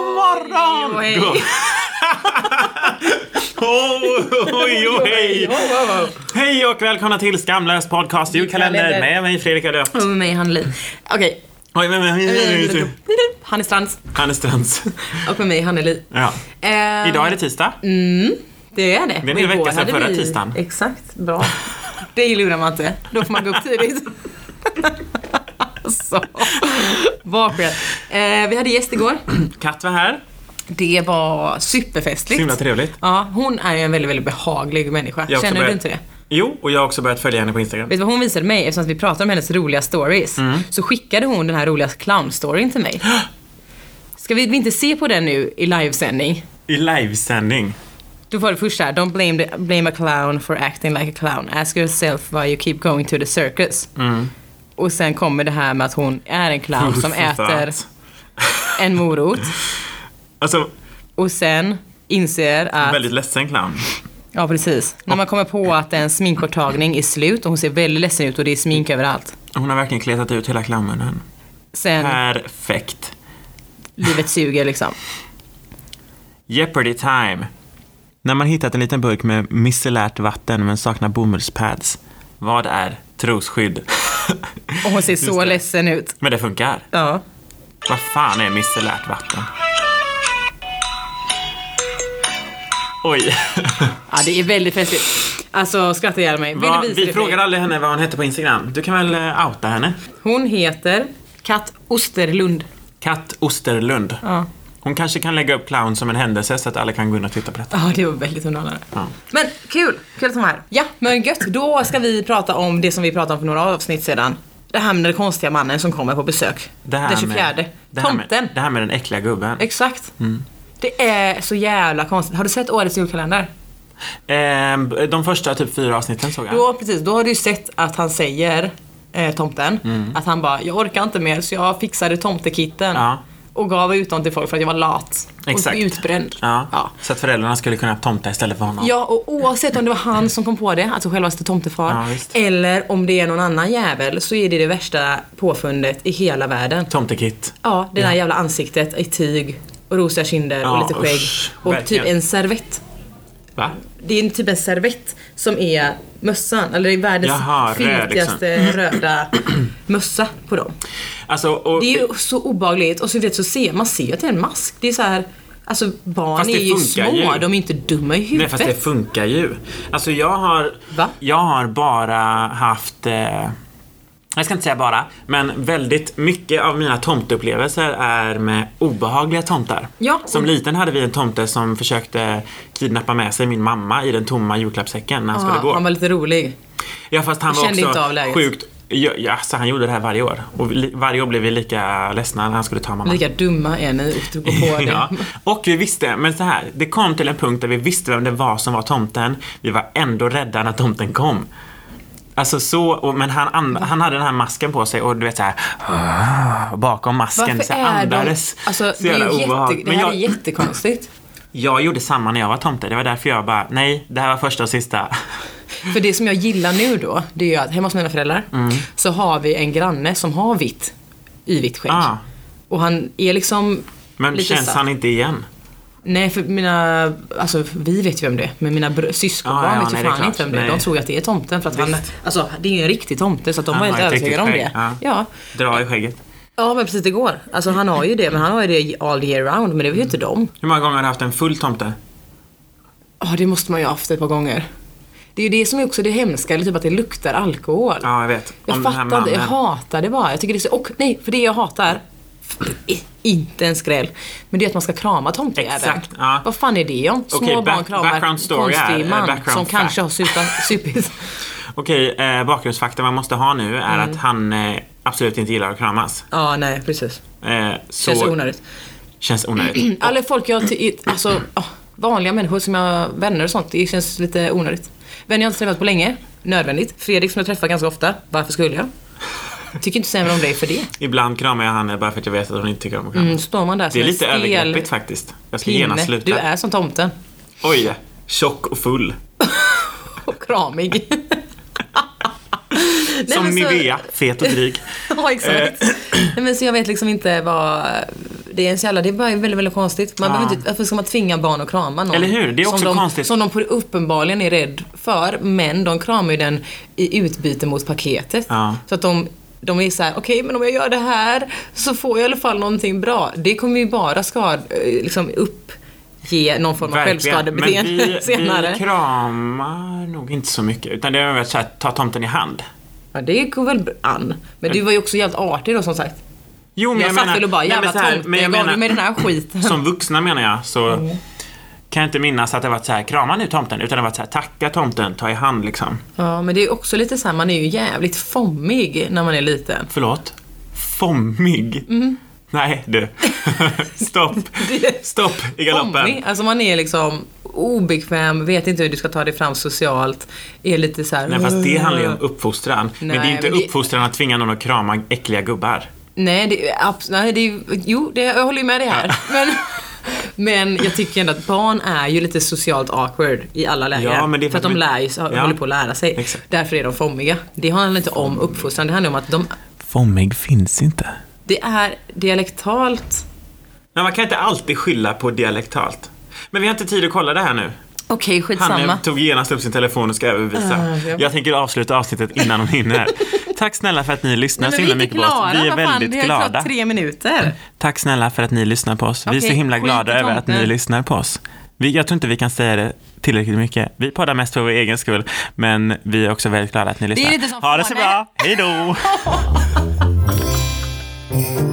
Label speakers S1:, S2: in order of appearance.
S1: morgon!
S2: Och hej.
S1: Go- Ho, hoj och hej! Hej och välkomna till Skamlös podcast julkalender
S2: Julkalender.
S1: med mig Fredrik Adö.
S2: Och med mig han Lin. Okej.
S1: Oj, men, men,
S2: Mm. Han är Strands.
S1: Hanne Strands.
S2: Och med mig han är Li.
S1: Ja.
S2: Eh,
S1: Idag är det tisdag.
S2: Det är det.
S1: är en
S2: Och igår
S1: vecka sedan
S2: hade
S1: förra
S2: vi-
S1: tisdagen.
S2: Exakt. Bra. Det lurar man inte. Då får man gå upp tidigt. Så. Varför? Eh, vi hade gäst igår.
S1: Katt var här.
S2: Det var
S1: Så
S2: superfestligt.
S1: himla trevligt.
S2: Ja, hon är ju en väldigt, väldigt behaglig människa.
S1: Jag har också
S2: Känner du
S1: börjat-
S2: inte det?
S1: Jo, och jag har också börjat följa henne på Instagram.
S2: Vet du vad hon visade mig? Eftersom att vi pratade om hennes roliga stories så skickade hon den här roliga clownstoryn till mig. Ska vi inte se på den nu i livesändning?
S1: I livesändning.
S2: Då var det först här, don't blame, the, blame a clown for acting like a clown. Ask yourself why you keep going to the circus. Och sen kommer det här med att hon är en clown som
S1: Fy fan.
S2: äter en morot.
S1: Alltså,
S2: Och sen inser att
S1: väldigt ledsen clown.
S2: Ja, precis. När man kommer på att en sminkborttagning är slut och hon ser väldigt ledsen ut och det är smink överallt.
S1: Hon har verkligen kletat ut hela clownen.
S2: Sen,
S1: Perfekt.
S2: livet suger liksom.
S1: Jeopardy time. När man hittat en liten burk med micellärt vatten men saknar bomullspads, vad är trosskydd?
S2: Och hon ser så
S1: det.
S2: ledsen ut.
S1: men det funkar.
S2: Ja.
S1: Vad fan är micellärt vatten? Oj.
S2: ja, det är väldigt festligt. Alltså, skratta ihjäl mig. Vill du
S1: Va, vi
S2: visa det för dig?
S1: frågar aldrig henne vad hon hette på Instagram. Du kan väl eh, outa henne?
S2: Hon heter Katt Osterlund.
S1: Katt Osterlund.
S2: Ja.
S1: Hon kanske kan lägga upp clown som en händelse så att alla kan gå in och titta på detta.
S2: Ja, det var väldigt underhållande.
S1: Ja.
S2: Men kul! Kul som här. Ja, men gött. Då ska vi prata om det som vi pratade om för några avsnitt sedan. Det här med den konstiga mannen som kommer på besök.
S1: Det här
S2: Den 24.
S1: Med, det här
S2: Tomten.
S1: med, det här Mm. med den äckliga gubben.
S2: Exakt. Det är så jävla konstigt. Har du sett årets julkalender?
S1: Eh, de första typ fyra avsnitten såg jag.
S2: Då, precis, då har du ju sett att han säger, eh, tomten,
S1: Mm.
S2: att han bara “jag orkar inte mer så jag fixade tomtekitten”
S1: Ja.
S2: och gav ut dem till folk för att jag var lat
S1: Exakt.
S2: och utbränd.
S1: Ja.
S2: Ja.
S1: Så att föräldrarna skulle kunna tomta istället för honom.
S2: Ja, och oavsett om det var han som kom på det, alltså självaste tomtefar,
S1: Ja, visst.
S2: eller om det är någon annan jävel så är det det värsta påfundet i hela världen.
S1: Tomtekit.
S2: Ja, det där jävla ansiktet i tyg och rosiga kinder och
S1: Ja,
S2: lite skägg.
S1: usch,
S2: och typ
S1: verkligen.
S2: en servett.
S1: Va?
S2: Det är en typ en servett som är mössan, eller det är världens
S1: Jaha, röd liksom.
S2: filtigaste röda mössa på dem.
S1: Alltså, och,
S2: Det är ju så obehagligt och så, vet, så ser man ser ju att det är en mask. Det är så här, alltså barn
S1: Fast
S2: är
S1: det
S2: ju
S1: funkar
S2: små,
S1: ju.
S2: de är inte dumma i
S1: Nej
S2: huvudet.
S1: fast det funkar ju. Alltså jag har,
S2: Va?
S1: jag har bara haft, eh, jag ska inte säga bara, men väldigt mycket av mina tomteupplevelser är med obehagliga tomtar.
S2: Ja,
S1: Som
S2: och-
S1: liten hade vi en tomte som försökte kidnappa med sig min mamma i den tomma julklappssäcken när han skulle
S2: ja,
S1: gå.
S2: han var lite rolig.
S1: Ja fast han
S2: Kände inte av
S1: var också
S2: läget.
S1: sjukt Ja, ja, så han gjorde det här varje år. Och vi- li- varje år blev vi lika ledsna när han skulle ta mamma.
S2: Lika dumma är ni och går på det.
S1: Ja. Och vi visste, men så här, det kom till en punkt där vi visste vem det var som var tomten. Vi var ändå rädda när tomten kom. Alltså så, och, men han,
S2: Mm.
S1: and, han hade den här masken på sig och du vet så här "Ah", bakom masken så här andades.
S2: Alltså,
S1: så
S2: det, är
S1: jävla
S2: ju
S1: obehag.
S2: jätte, det
S1: Men
S2: här
S1: jag,
S2: är jättekonstigt.
S1: jag gjorde samma när jag var tomte. Det var därför jag bara, nej, det här var första och sista.
S2: För det som jag gillar nu då, det är ju att hemma hos mina föräldrar
S1: Mm.
S2: så har vi en granne som har vitt i vitt skägg.
S1: Ah.
S2: Och han är liksom
S1: Men
S2: lite
S1: känns
S2: satt.
S1: han inte igen?
S2: Nej för mina, alltså vi vet ju vem det är men mina br- syskonbarn
S1: Ah, ja,
S2: vet ju
S1: nej, det är
S2: fan
S1: klart.
S2: inte vem det är.
S1: Nej.
S2: De tror ju att det är tomten för att han,
S1: Visst.
S2: alltså det är ju en riktig tomte så att de
S1: Han
S2: var
S1: har
S2: helt
S1: ett riktigt
S2: övertygade om
S1: skägg,
S2: det.
S1: ja.
S2: Ja.
S1: Dra i skägget.
S2: ja men precis det går. Alltså han har ju det men han har ju det all year round men det var ju inte dem.
S1: Hur många gånger har du haft en full tomte?
S2: Ja det måste man ju ha haft ett par gånger. Det är ju det som är också det hemska, eller typ att det luktar alkohol.
S1: Ja, jag vet.
S2: Jag
S1: Om den här
S2: fattar inte, jag
S1: mannen.
S2: hatar det bara. Jag tycker det är så, och nej, för det jag hatar, det är inte en skräll, men det är att man ska krama tomtejäveln.
S1: Exakt, ja.
S2: Vad fan är det om? Små
S1: Okej, back-
S2: barn kramar
S1: background story här,
S2: konstig
S1: eh,
S2: man
S1: background
S2: som
S1: fact.
S2: kanske har supa- supit.
S1: Okej, eh, bakgrundsfakta man måste ha nu är
S2: Mm.
S1: att han eh, absolut inte gillar att kramas.
S2: ja, nej precis.
S1: Eh, så
S2: Känns onödigt.
S1: Känns onödigt.
S2: Mm, Alla folk jag, ty- alltså ah, vanliga människor som jag, vänner och sånt, det känns lite onödigt. Vänner jag inte träffat på länge, nödvändigt. Fredrik som jag träffar ganska ofta, varför skulle jag? Tycker inte sämre om dig för det.
S1: Ibland kramar jag henne bara för att jag vet att hon inte tycker om att kramas.
S2: Mm, står man där
S1: Det är
S2: som en
S1: lite
S2: stel
S1: övergreppigt faktiskt. Jag ska
S2: pinne.
S1: genast sluta.
S2: Du är som tomten.
S1: Oj! Tjock och full.
S2: och kramig. Nej,
S1: Som Eh.
S2: men så-
S1: Nivea, fet och dryg.
S2: Ja exakt. Nej, men så jag vet liksom inte vad... Det är en källa, det är bara väldigt, väldigt konstigt. Man
S1: Ja.
S2: behöver inte, varför ska man tvinga barn att krama någon?
S1: Eller hur? Det är också
S2: som de,
S1: konstigt.
S2: Som de på- uppenbarligen är rädd för, men de kramar ju den i utbyte mot paketet.
S1: Ja.
S2: Så att de, de är så här: okej men om jag gör det här så får jag i alla fall någonting bra. Det kommer ju bara skad, eh, liksom uppge någon form av
S1: Men vi,
S2: självskadebeteende senare.
S1: vi kramar nog inte så mycket. Utan det har varit såhär, ta tomten i hand.
S2: Ja, det går väl an. Men du var ju också jävligt artig då som sagt.
S1: Jo, men
S2: Jag,
S1: jag,
S2: satt
S1: menar...
S2: väl och bara,
S1: Nej, men
S2: jävla
S1: så här,
S2: tomte,
S1: men jag
S2: gav du
S1: menar-
S2: mig den här skiten?
S1: Som vuxna menar jag, så
S2: Mm.
S1: kan jag inte minnas att det varit så här krama nu tomten, utan det har varit så här tacka tomten, ta i hand liksom.
S2: Ja, men det är också lite så här, man är ju jävligt fommig när man är liten.
S1: Förlåt? Fommig?
S2: Mm.
S1: Nej, du. Stopp. Stopp i galoppen.
S2: Fommig, alltså man är liksom obekväm, vet inte hur du ska ta dig fram socialt, är lite så här.
S1: Nej, fast det handlar ju om uppfostran. men det är
S2: Mm. Nej,
S1: ju inte
S2: men det-
S1: uppfostran att tvinga någon att krama äckliga gubbar.
S2: Nej, det, är abs- nej det, är- jo, det, jag håller ju med dig här. Men, men jag tycker ändå att barn är ju lite socialt awkward i alla lägen.
S1: Ja, men det är
S2: för att de
S1: faktiskt-
S2: lär ju, sig-
S1: Ja.
S2: håller på att lära sig.
S1: Exakt.
S2: Därför är de fommiga. Det handlar inte om uppfostran, det handlar om att de,
S1: Fommig finns inte.
S2: det är dialektalt.
S1: Men man kan inte alltid skylla på dialektalt. Men vi har inte tid att kolla det här nu.
S2: Okej,
S1: Han
S2: skitsamma.
S1: tog genast upp sin telefon och ska övervisa.
S2: Ah, ja.
S1: Jag tänker avsluta avsnittet innan hon hinner. Tack snälla för att ni lyssnar
S2: Nej,
S1: så
S2: men vi
S1: himla mycket på
S2: är
S1: oss.
S2: glada,
S1: Vi är
S2: vad fan,
S1: väldigt
S2: det har
S1: glada.
S2: klart tre minuter.
S1: Tack snälla för att ni lyssnar på oss. vi är så
S2: Okej,
S1: himla
S2: skit
S1: glada
S2: i
S1: över att ni
S2: tomten.
S1: lyssnar på oss. Vi, jag tror inte vi kan säga det tillräckligt mycket. Vi poddar mest för vår egen skull, men vi är också väldigt glada att ni lyssnar.
S2: lite som
S1: ha det så
S2: Fåne.
S1: bra, hej då!